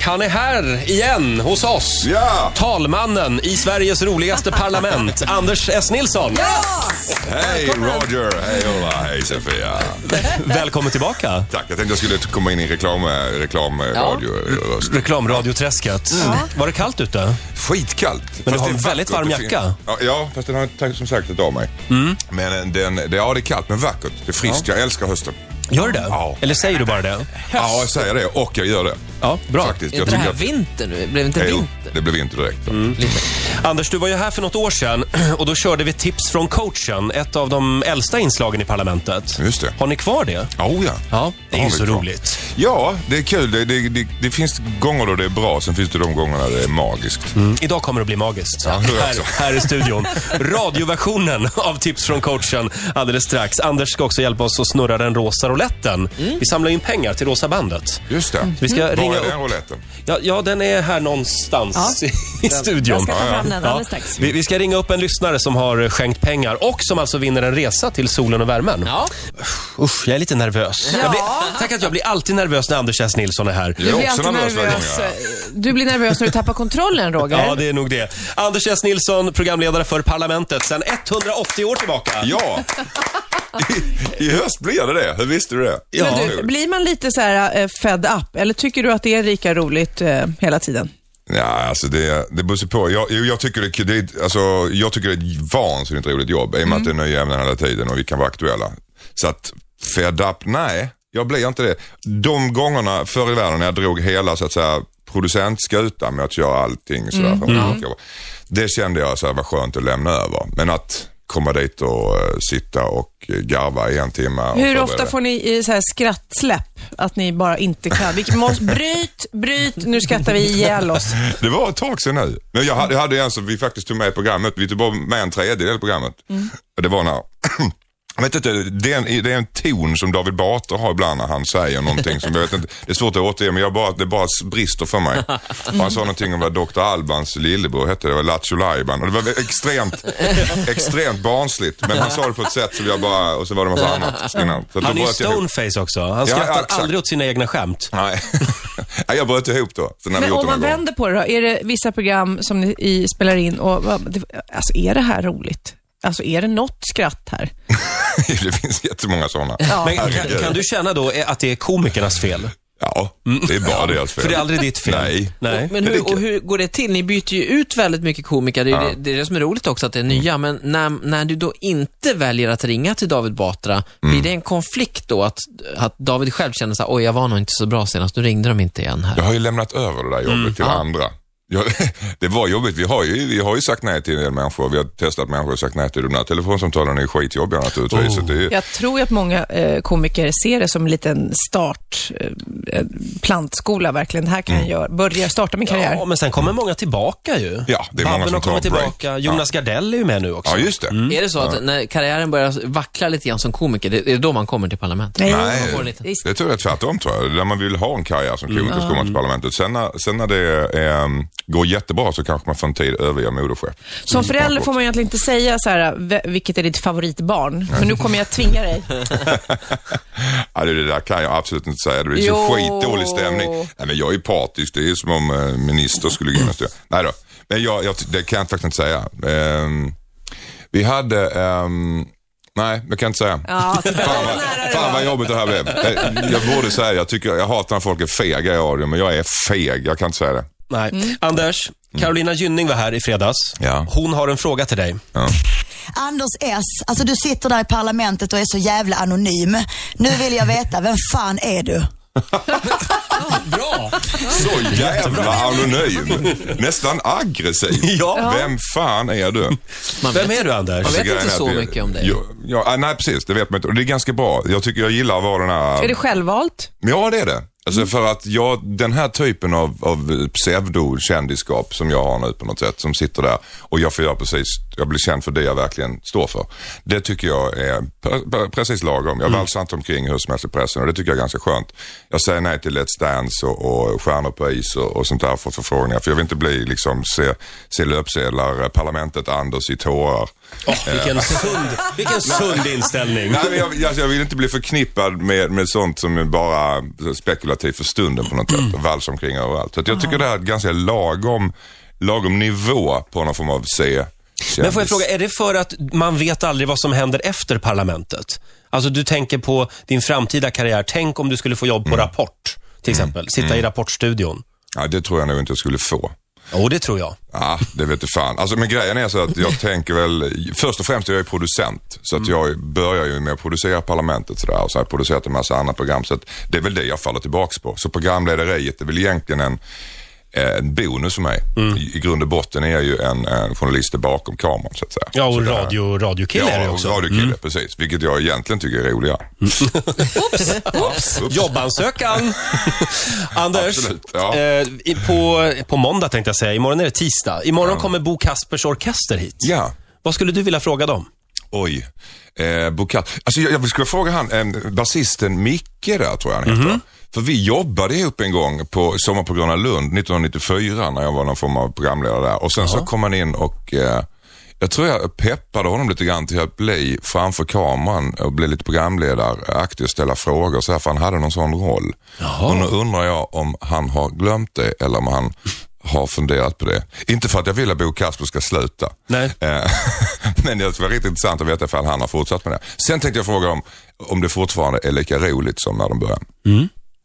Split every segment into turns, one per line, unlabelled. Han är här igen hos oss.
Ja!
Talmannen i Sveriges roligaste parlament, Anders S. Nilsson.
Hej Roger, hej Ola, hej Sofia.
Välkommen tillbaka.
Tack, jag tänkte jag skulle komma in i reklam, eh, reklamradio.
Reklamradioträsket. Var det kallt ute?
Skitkallt.
du
Fast
har
det är
en väldigt
vackert.
varm
Det
jacka. Mm.
fin- Ja, Ja, fast den har jag som sagt tagit av mig. Men eh, den, det, ja, det är kallt men vackert. Det är friskt, jag älskar hösten.
Gör du det?
Ja.
Eller säger du bara det?
Ja, jag säger det och jag gör det.
Ja, bra.
Faktiskt.
Är
Jag
inte det här
att-
vinter nu? Blev det inte
Jo,
vinter?
det blev inte direkt.
Mm. Anders, du var ju här för något år sedan och då körde vi tips från coachen, ett av de äldsta inslagen i parlamentet.
Just det.
Har ni kvar det?
Oh, ja.
Ja, det är
har
ju
vi
så
kvar.
roligt.
Ja, det är kul. Det, det, det, det finns gånger då det är bra, sen finns det de gångerna det är magiskt.
Mm, Idag kommer det att bli magiskt.
det tror jag
här,
också.
här i studion. Radioversionen av tips från coachen alldeles strax. Anders ska också hjälpa oss att snurra den rosa rouletten.
Mm.
Vi samlar in pengar till Rosa bandet.
Just det.
Vi ska
Var
ringa
är den
upp.
rouletten?
Ja, ja, den är här någonstans
Ja.
i studion.
Jag ska ta fram den
Ja.
alldeles strax.
Vi, vi ska ringa upp en lyssnare som har skänkt pengar och som alltså vinner en resa till solen och värmen.
Ja.
Usch, jag är lite nervös. Jag blir, tack att jag blir alltid nervös när Anders S. Nilsson är här.
Jag är också nervös varje gång jag
Du blir nervös när du tappar kontrollen, Roger.
Ja, det är nog det. Anders S. Nilsson, programledare för Parlamentet sedan 180 år tillbaka.
Ja. I, I höst blir det det. Hur visste du det?
Ja.
Men du, blir man lite så här eh, fed up, eller tycker du att det är lika roligt eh, hela tiden?
Ja, alltså det, det beror sig på. Jag, jo, jag, tycker det, är kul. det, är- alltså, jag tycker det är ett vansinnigt roligt jobb i och med att det
Mm.
är nya ämnen hela tiden och vi kan vara aktuella. Så att fed up, nej, jag blir inte det. De gångerna förr i världen när jag drog hela så att säga producentskutan med att göra allting sådär.
Mm.
för att jobba, Det kände jag så här, var skönt att lämna över. Men att komma dit och eh, sitta och eh, garva i en timme. och
Hur
förbereda.
ofta får ni eh, så här skrattsläpp? Att ni bara inte kan? Vilket måste, bryt, bryt, nu skrattar vi ihjäl oss.
Det var ett tag sedan nu. Men jag hade, jag hade en som vi faktiskt tog med i programmet. Vi tog bara med en tredjedel i programmet. Och det var när, jag vet inte, det är, en, det är en ton som David Batra har ibland när han säger någonting som jag vet inte, det är svårt att återge men jag bara, det bara brister för mig. Och han sa någonting om vad Dr. Albans lillebror hette, det var Lattjo Lajban. Och det var extremt, extremt barnsligt. Men han sa det på ett sätt som jag bara, och så var det en massa annat innan. Så att då
Han är ju
bröt jag ihop.
stoneface också. Han
Ja, ja,
skrattar
exakt.
aldrig åt sina egna skämt.
Nej, Nej, jag bröt ihop då. Så när vi
Men
gjort
om
det någon gång.
man vänder på det då, är det vissa program som ni i, spelar in och vad- det- alltså är det här roligt? Alltså är det något skratt här?
Det finns jättemånga sådana.
Men kan,
Herregud.
kan du känna då eh, att det är komikernas fel?
Ja, det är bara deras fel.
Mm. För det är aldrig ditt fel.
Nej.
Nej.
Men hur, och hur går det till? Ni byter ju ut väldigt mycket komiker. Det är, ju det, det, är det som är roligt också, att det är
Mm.
nya. Men när, när du då inte väljer att ringa till David Batra, blir
Mm.
det en konflikt då? Att, att David själv känner så här, oj, jag var nog inte så bra senast. Nu ringde de inte igen här.
Jag har ju lämnat över det där jobbet
Mm.
till andra. Jag, det var jobbigt. Vi har, ju, vi har ju sagt nej till en del människor. Vi har testat människor och sagt nej till de där telefonsamtalen. är ju skitjobbiga naturligtvis.
Oh.
Så det är ju,
Jag tror ju att många eh, komiker ser det som en liten start, eh, eh, plantskola verkligen. Det här kan jag göra, börja starta min karriär.
Mm. Ja, men sen kommer många tillbaka ju.
Ja, det är många
Babben
som
har kommit
tar break.
tillbaka. Jonas Gardell är ju med nu också.
ja, just det.
Är det så att när karriären börjar vackla lite grann som komiker, det, är det då man kommer till parlamentet?
Nej.
Nej,
får
Eh,
en liten-
det tror jag är tvärtom tror jag. Där man vill ha en karriär som komiker så kommer
Mm.
man till parlamentet. Sen när, sen när det eh, går jättebra så kanske man för en tid överger modeskepp.
Som förälder får man ju egentligen inte säga så här, "V- vilket är ditt favoritbarn? För nu kommer jag tvinga dig.
Ja, det, det där kan jag absolut inte säga. Det blir så
Jo.
skitdålig stämning. Nej, men jag är partisk. Det är som om eh, minister skulle gå in och styra. Nej då. Men jag, jag, det kan jag faktiskt inte säga. Ehm, vi hade... ehm, nej, jag kan inte säga.
Ja, titta,
Fan vad,
nära det
fan
var.
vad jobbigt det här blev. Jag, jag borde säga, jag, tycker, jag hatar när folk är fega i radio, men jag är feg. Jag kan inte säga det.
Nej. Anders, Carolina Gynning var här i fredags.
Mm. Ja.
Hon har en fråga till dig.
Ja.
Anders S, alltså du sitter där i parlamentet och är så jävla anonym. Nu vill jag veta, vem fan är du?
Bra!
Så jävla anonym. Nästan aggressiv.
Ja.
Vem fan är du?
Man
Vem
vet.
är du, Anders?
Jag vet
Grejen
inte
är att
så
det-
mycket om dig.
Ja, ja, ah, nej, precis. Det vet man inte. Och det är ganska bra. Jag tycker jag gillar att vara den här...
Är det självvalt?
Ja, det är det. Alltså
Mm.
för att jag, den här typen av, av pseudo-kändisskap som jag har nu på något sätt, som sitter där och jag får göra precis jag blir känd för det jag verkligen står för. Det tycker jag är pre- pre- precis lagom.
Mm.
Jag valsar inte omkring hur som helst i pressen och det tycker jag är ganska skönt. Jag säger nej till Let's Dance och, och Stjärnor på is och, och sånt där för förfrågningar. För jag vill inte bli liksom, se, se löpsedlar, eh, Parlamentet, Anders i tårar.
Åh, vilken sund, vilken sund inställning.
Nej, men jag, alltså, jag, jag vill inte bli förknippad med, med sånt som är bara spekulativt för stunden på något sätt och vals omkring överallt. Så att jag tycker det här är ett ganska lagom, lagom nivå på någon form av C.
Men får jag fråga, är det för att man vet aldrig vad som händer efter parlamentet? Alltså du tänker på din framtida karriär. Tänk om du skulle få jobb på Rapport, till exempel. Sitta i Rapportstudion.
Ja, det tror jag nog inte jag skulle få.
Jo, det tror jag.
Ja, det vet du fan. Alltså, men grejen är så att jag tänker väl, först och främst är jag ju producent. Så
Mm.
att jag börjar ju med att producera Parlamentet sådär, och så har jag producerat en massa andra program. Så att det är väl det jag faller tillbaks på. Så programlederiet är väl egentligen en, eh, en bonus för mig.
Mm.
I, I grund och botten är jag ju en, en journalist bakom kameran så att säga.
Ja,
Så
och
där-
radio, radiokille är det
Ja, och
också. Mm.
radiokille, precis. Vilket jag egentligen tycker är roligare.
Jobbansökan! Anders,
Absolut, ja.
eh, i- på, på måndag tänkte jag säga. Imorgon är det tisdag. Imorgon kommer Bo Kaspers Orkester hit.
Ja.
Vad skulle du vilja fråga dem?
Oj. Eh, Bokat. Alltså jag, jag skulle fråga han, eh, basisten Micke där tror jag han heter. För vi jobbade ihop en gång på Sommar på Gröna Lund 1994 när jag var någon form av programledare där. Och sen så kom han in och eh, jag tror jag peppade honom lite grann till att bli framför kameran och bli lite programledaraktig och ställa frågor så här, för han hade någon sån roll. Och nu undrar jag om han har glömt det eller om han har funderat på det. Inte för att jag vill att Bo Kasper ska sluta.
Nej.
Eh, Men det skulle vara riktigt intressant att veta ifall han har fortsatt med det. Sen tänkte jag fråga om, om det fortfarande är lika roligt som när de började.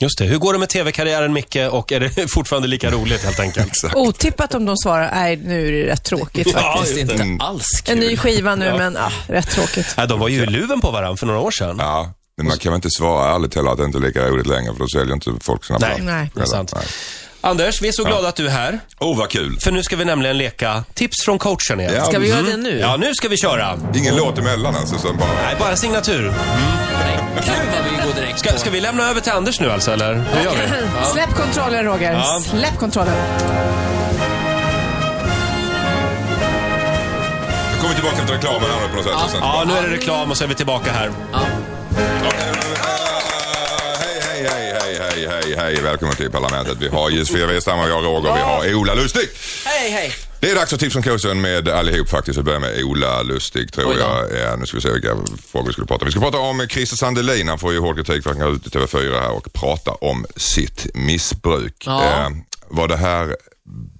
Just det. Hur går det med tv-karriären, Micke? Och är det fortfarande lika roligt, helt enkelt?
Otippat om de svarar, nej nu är det rätt tråkigt
Ja,
faktiskt.
just
Faktiskt
det. Mm.
inte alls kul.
En ny skiva nu, men ah, rätt tråkigt.
Ja, de var ju i luven på varandra för några år sedan.
Ja, men man kan väl inte svara ärligt heller att det inte är lika roligt längre för då säljer inte folk sina
Nej,
plattor.
Nej.
det är sant. Anders, vi är så glada att du är här.
Åh, oh, vad kul.
För nu ska vi nämligen leka tips från coachen igen.
Ja.
Ska vi göra det nu?
Mm. Ja, nu ska vi köra.
Ingen låt emellan alltså, sen bara...
Nej, bara signatur.
Nej, gud vad vi går direkt
Ska,
på.
ska vi lämna över till Anders nu alltså, eller? Hur gör vi?
Släpp kontrollen Roger,
Ja.
släpp kontrollen.
Jag kommer tillbaka efter reklamen här nu på något sätt. och sen bara-
Ja, nu är det reklam och så är vi tillbaka här.
Ja.
Hej, hej, hej, hej, hej, hej, hej. Välkommen till Parlamentet. Vi har Josefin Wirstam och jag Roger. Vi har Ola Lustig.
Hej, hej.
Det är dags för tips från kursen med allihop faktiskt. Vi börjar med Ola Lustig tror
Oj då.
jag. Ja, nu ska vi se vilka frågor vi skulle prata om. Vi ska prata om Christer Sandelin. Han får ju hård kritik för att han går ut i TV4 här och pratar om sitt missbruk.
Ja.
Eh, var det här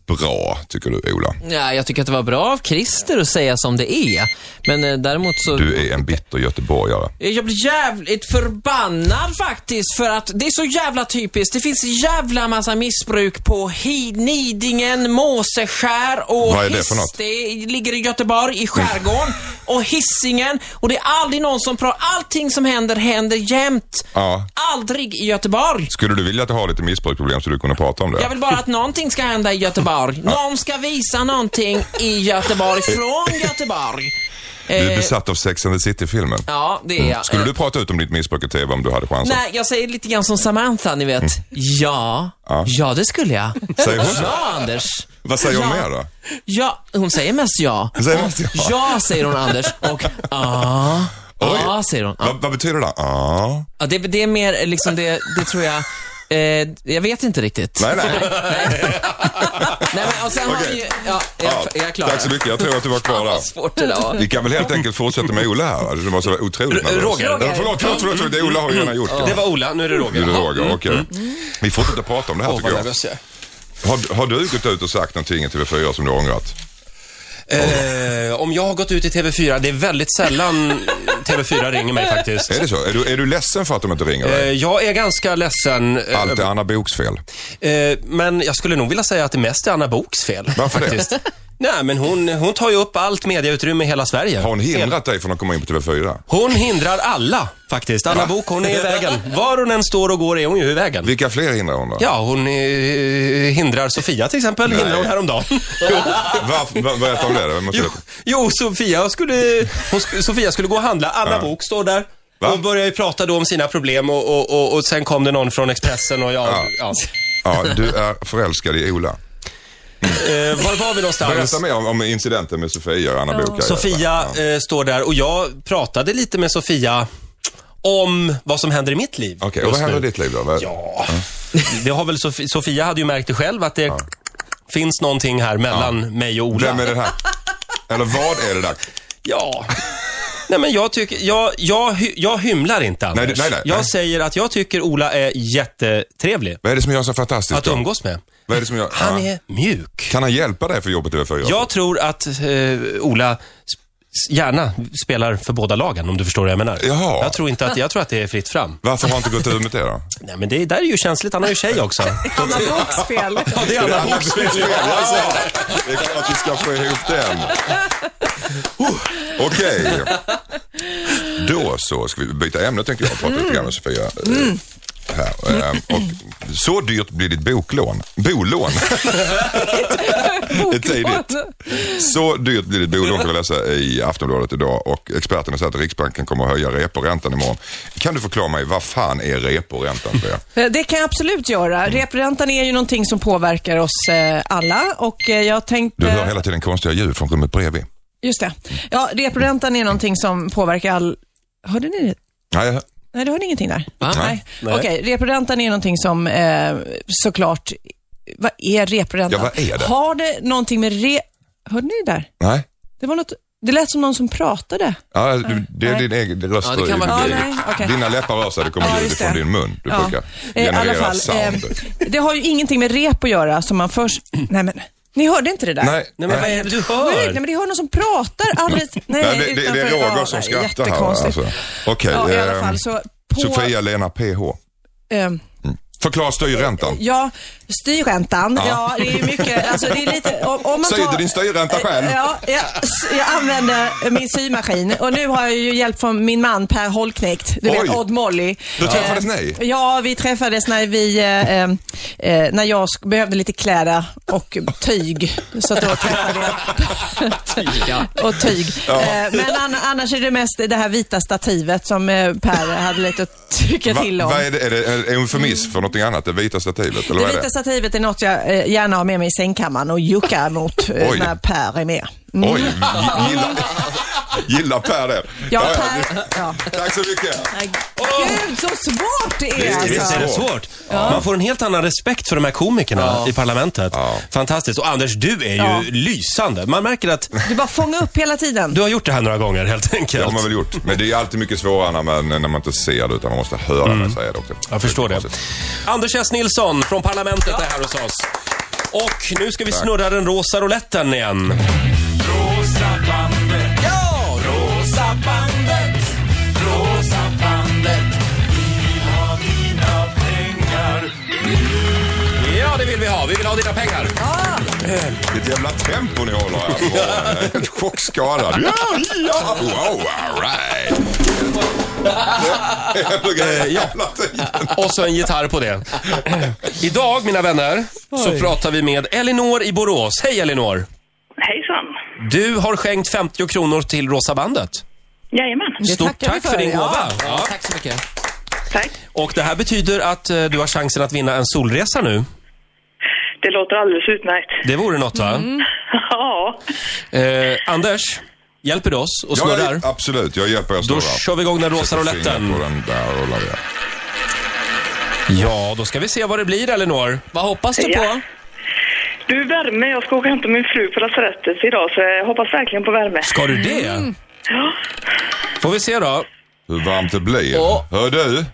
bra tycker du Ola?
Ja, jag tycker att det var bra av Christer att säga som det är. Men eh, däremot så...
Du är en bitter göteborgare.
Jag blir jävligt förbannad faktiskt för att det är så jävla typiskt. Det finns jävla massa missbruk på Hi- Nidingen, Måseskär och
Vad är det för något? Mm.
det ligger i Göteborg, i skärgården och hissingen Och det är aldrig någon som pratar. Allting som händer, händer jämt.
Ja.
Aldrig i Göteborg.
Skulle du vilja att du har lite missbruksproblem så du kunde prata om det?
Jag vill bara att någonting ska hända i Göteborg. Någon ska visa någonting i Göteborg, från Göteborg.
Du är
Eh,
besatt av Sex and the City-filmen.
Ja, det är jag.
Skulle du prata ut om ditt missbruk i TV om du hade chansen?
Nej, jag säger lite grann som Samantha, ni vet. Ja,
Ja.
ja, det skulle jag.
Säger hon så?
Ja, Anders.
Vad säger hon
Ja.
mer då?
Ja, hon säger mest ja.
Hon säger mest ja.
Ja, säger hon Anders. Och ja. Ja, säger hon.
Vad, vad betyder det? Ah.
Ja, det, det är mer eh, liksom, det, det tror jag. Eh, jag vet inte riktigt.
Nej, nej.
Nej, men, och sen har
Okej.
vi ju, ja, jag,
Ja,
jag är klar.
Tack så mycket. Jag tror att du var kvar där.
Vad svårt det där var.
Vi kan väl helt enkelt fortsätta med Ola här. alltså, Du var så otroligt nervös.
Roger.
Nej, Förlåt, förlåt, förlåt. förlåt. Det är Ola har ju redan gjort
Det
det.
var Ola, nu är det
Nu är
Roger. Mm.
det Roger, okej. Vi fortsätter prata om det här
Åh,
tycker
vad
jag.
nervös jag är.
Har, har du gått ut och sagt någonting i TV4 som du har ångrat?
Eh, om jag har gått ut i TV4, det är väldigt sällan TV4 ringer mig faktiskt.
Är det så? Är du, är du ledsen för att de inte ringer
Eh,
dig?
Jag är ganska ledsen, eh,
Allt är Anna Boks fel.
eh, men jag skulle nog vilja säga att det mest är Anna Boks fel.
Varför det?
faktiskt. Nej, men hon, hon tar ju upp allt medieutrymme i hela Sverige.
Har hon hindrat dig från att komma in på TV4?
Hon hindrar alla faktiskt. Anna Bok, hon är i vägen. Var hon än står och går är hon ju i vägen.
Vilka fler hindrar hon då?
Ja, hon eh, hindrar Sofia till exempel. Hindrar hon häromdagen.
Varför, var, berätta om det då. Jag måste
Jo,
veta.
jo Sofia, skulle, hon, sk- Sofia skulle gå och handla. Anna Bok står där.
Va?
Hon börjar ju prata då om sina problem och, och, och, och sen kom det någon från Expressen och jag... Ja.
Ja, du är förälskad i Ola.
Eh, var var vi någonstans?
Berätta mer om, om incidenten med Sofia och Anna Book.
Sofia eh, står där och jag pratade lite med Sofia om vad som händer i mitt liv
Okej, och vad
just
händer i
nu.
ditt liv då? Vad-
Ja, det har väl Sof- Sofia hade ju märkt det själv att det finns någonting här mellan mig och Ola.
Vem är det här? Eller vad är det där?
Ja. Nej, men jag, tycker, jag, jag, hy- jag hymlar inte, Anders.
nej, nej,
jag
nej.
säger att jag tycker Ola är jättetrevlig
Vad är det som gör så fantastiskt
att
då?
umgås med.
Vad är det som gör...
Han
Ja.
är mjuk.
Kan han hjälpa dig för jobbet över fyra?
Jag tror att eh, Ola s- s- gärna spelar för båda lagen, om du förstår vad jag menar.
Jaha.
Jag tror, inte att, jag tror att det är fritt fram.
Varför har han inte gått ut med det då?
Nej, men det där är ju känsligt. Han har ju tjej också.
Anna Books fel.
Ja, det är Anna Bok.
Fel, alltså. Det är klart vi ska få ihop den. Oh, Okej. Då så ska vi byta ämne tänker jag och prata lite grann
Mm.
med Sofia. eh, Här. Eh, Och så dyrt blir ditt boklån. Bolån. tidigt. Så dyrt blir det bolån kan vi läsa i Aftonbladet idag och experterna säger att Riksbanken kommer att höja reporäntan imorgon. Kan du förklara mig, vad fan är reporäntan? Bea?
Eh, Det kan jag absolut göra.
Mm.
Repräntan är ju någonting som påverkar oss eh, alla och eh, jag tänkte...
Du hör hela tiden konstiga ljud från rummet bredvid.
Just det. Ja, repräntan är någonting som påverkar all... Hörde ni det?
Nej, jag hör-
Nej, du hörde ingenting där?
Va?
Nej.
Nej.
Okej, repräntan är någonting som eh, såklart... Vad är repräntan?
Ja, vad är det?
Har det någonting med re... Hörde ni det där?
nej.
Det var något... Det lät som någon som pratade.
Ja, du, det är din egen röst.
Ja, det kan
i-
vara-
Ja,
i-
nej, okej.
Dina läppar rör sig, det kommer
Ja,
ljud
just
från
det.
din mun. Du brukar
Eh, i alla
generera
fall,
sound.
eh, det har ju ingenting med rep att göra som man först... Nej, men ni hörde inte det där?
Nej,
Nej, men vad är det du hör?
Sjukt, Nej, men det hör någon som pratar alldeles... Nej,
Nej, det, det, det
utanför
är
radarn.
Roger som skrattar här.
Jättekonstigt.
Alltså. Okej,
Ja, i alla
ehm,
fall så på...
Sofia Lena PH.
ehm,
Förklara styrräntan.
ja, styrräntan. Ja. det är mycket... Alltså, det är lite... Om, om man
Säg
tar,
inte din styrränta själv.
Ja, jag, jag använder min symaskin och nu har jag ju hjälp från min man Per Holknekt, du
Oj.
vet Odd Molly. Eh,
Då träffades ni?
Ja, vi träffades när vi, eh, eh, när jag sk- behövde lite kläder och tyg. Så att då träffade
Ja.
jag. och tyg. Eh, men an- annars är det mest det här vita stativet som eh, Per hade lite att tycka
Va,
till om.
vad är, det, är det är det en eufemism för någonting annat? Det vita stativet? Eller
Det
vad är det?
vita stativet är något jag eh, gärna har med mig i sängkammaren och juckar mot eh,
Oj.
när Per är med. Mm.
Oj, gi- gillar, gillar Per det?
Ja,
det-
Per. Ja.
Tack så mycket.
Gud, så svårt det är
Det
Visst
alltså.
är det
svårt.
svårt? Man får en helt annan respekt för de här komikerna i parlamentet. Fantastiskt. Och Anders, du är ju
Ja.
lysande. Man märker att
Du bara fångar upp hela tiden.
du har gjort det här några gånger helt
Det
enkelt.
har man väl gjort. Men det är alltid mycket svårare när man, när man inte ser det utan man måste höra mm. säga det också.
Jag förstår det. Anders S. Nilsson från Parlamentet är här hos oss. Och nu ska vi snurra den rosa rouletten igen.
Rosa bandet. Ja! Rosa bandet. Rosa bandet. Vi vill ha dina pengar.
Ja, det vill vi ha. Vi vill ha dina pengar.
Vilket jävla tempo ni håller här. Bra. Jag är helt chockskadad. Ja, ja. Wow, all right. Det
Eh,
är grejer hela tiden.
Och så en gitarr på det. Idag, mina vänner, så pratar vi med Elinor i Borås. Hej Elinor!
Hejsan.
Du har skänkt 50 kronor till Rosa bandet.
Jajamän.
Det
Stort
tackar vi
tack för
för,
din
ja.
gåva.
Ja, tack så mycket.
Tack.
Och det här betyder att eh, du har chansen att vinna en solresa nu.
Det låter alldeles utmärkt.
Det vore något va?
Mm.
Ja.
Eh, Anders, hjälper du oss och
Ja,
snurrar?
jag- absolut, jag hjälper er
Då
snurrar.
kör vi igång den rosa
Sätter fingret
rouletten.
på den där och rullar vi.
Ja, då ska vi se vad det blir Elinor.
Vad hoppas du på?
Ja. Du, värme. Jag ska åka och hämta min fru på lasarettet idag, så jag hoppas verkligen på värme.
Ska du det?
Mm.
Ja.
Får vi se då.
Hur varmt det blir.
Åh.
Hör du?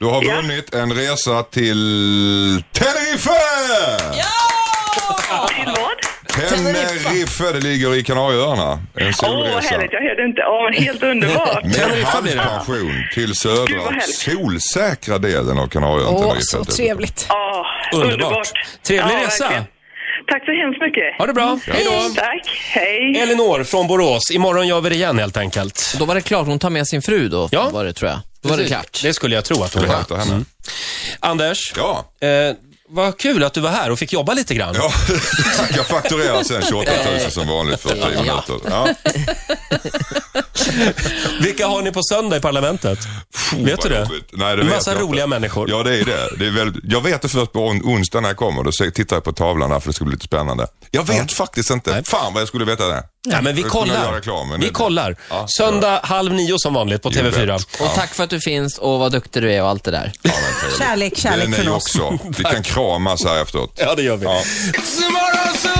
Du har
Ja.
vunnit en resa till Tenerife!
Till vad?
Tenerife, det ligger i Kanarieöarna. En
Åh, vad
solresa.
härligt. Jag hörde inte. Åh, men helt underbart.
Med
Tenerife blir det.
halvpension till
Gud, vad
södra
härligt.
solsäkra delen av Kanarieön.
Åh,
Tenerife.
så trevligt.
Ja,
Underbart.
underbart.
Trevlig resa.
verkligen. Tack så hemskt mycket.
Ha det
Mm.
bra. Hej då.
Tack. Hej.
Elinor från Borås. Imorgon gör vi det igen helt enkelt.
Då var det klart, hon tar med sin fru då,
Ja.
var det tror jag. Då var det klart.
Det skulle jag tro att hon
Vi
var.
hämtar henne.
Anders,
Ja.
eh, vad kul att du var här och fick jobba lite grann.
Ja, tack. Jag fakturerar sen 28 000 som vanligt för 10 minuter. Ja. Mm,
Vilka har ni på söndag i parlamentet?
Puh,
Vet du
vad
det?
jobbigt. Nej, det
En
vet
massa
jag inte.
roliga människor.
Ja, det är det. det är väldigt, jag vet det först på on- onsdag när jag kommer. Då se- tittar jag på tavlan där för det ska bli lite spännande. Jag vet faktiskt inte. Fan vad jag skulle veta det.
Nej, men vi
Jag skulle kunna
kollar.
göra reklam, men
vi
det-
kollar.
Ja,
Söndag halv nio som vanligt på
Jo,
TV4.
vet.
Och tack för att du finns och vad duktig du är och allt det där.
Kärlek,
Det är
kärlek
ni
från oss.
också. Vi kan kramas här efteråt.
Ja, det gör vi.
Ja.
It's tomorrow's